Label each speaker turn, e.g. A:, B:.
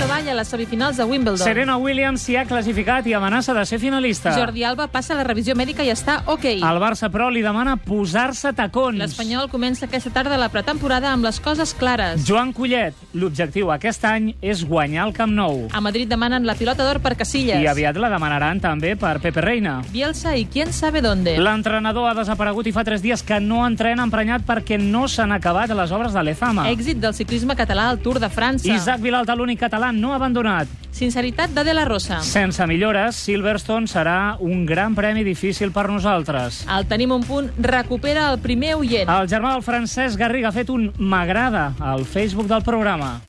A: medalla a les semifinals de Wimbledon.
B: Serena Williams s'hi ha classificat i amenaça de ser finalista.
A: Jordi Alba passa la revisió mèdica i està ok.
B: El Barça, però, li demana posar-se tacons.
A: L'Espanyol comença aquesta tarda la pretemporada amb les coses clares.
B: Joan Collet, l'objectiu aquest any és guanyar el Camp Nou.
A: A Madrid demanen la pilota d'or per Casillas.
B: I aviat la demanaran també per Pepe Reina.
A: Bielsa i quién sabe dónde.
B: L'entrenador ha desaparegut i fa tres dies que no entrena emprenyat perquè no s'han acabat les obres de l'EFAMA.
A: Èxit del ciclisme català al Tour de França.
B: Isaac Vilalta, l'únic català no abandonat.
A: Sinceritat de De La Rosa.
B: Sense millores, Silverstone serà un gran premi difícil per nosaltres.
A: El Tenim un punt recupera el primer oient.
B: El germà del Francesc Garriga ha fet un m'agrada al Facebook del programa.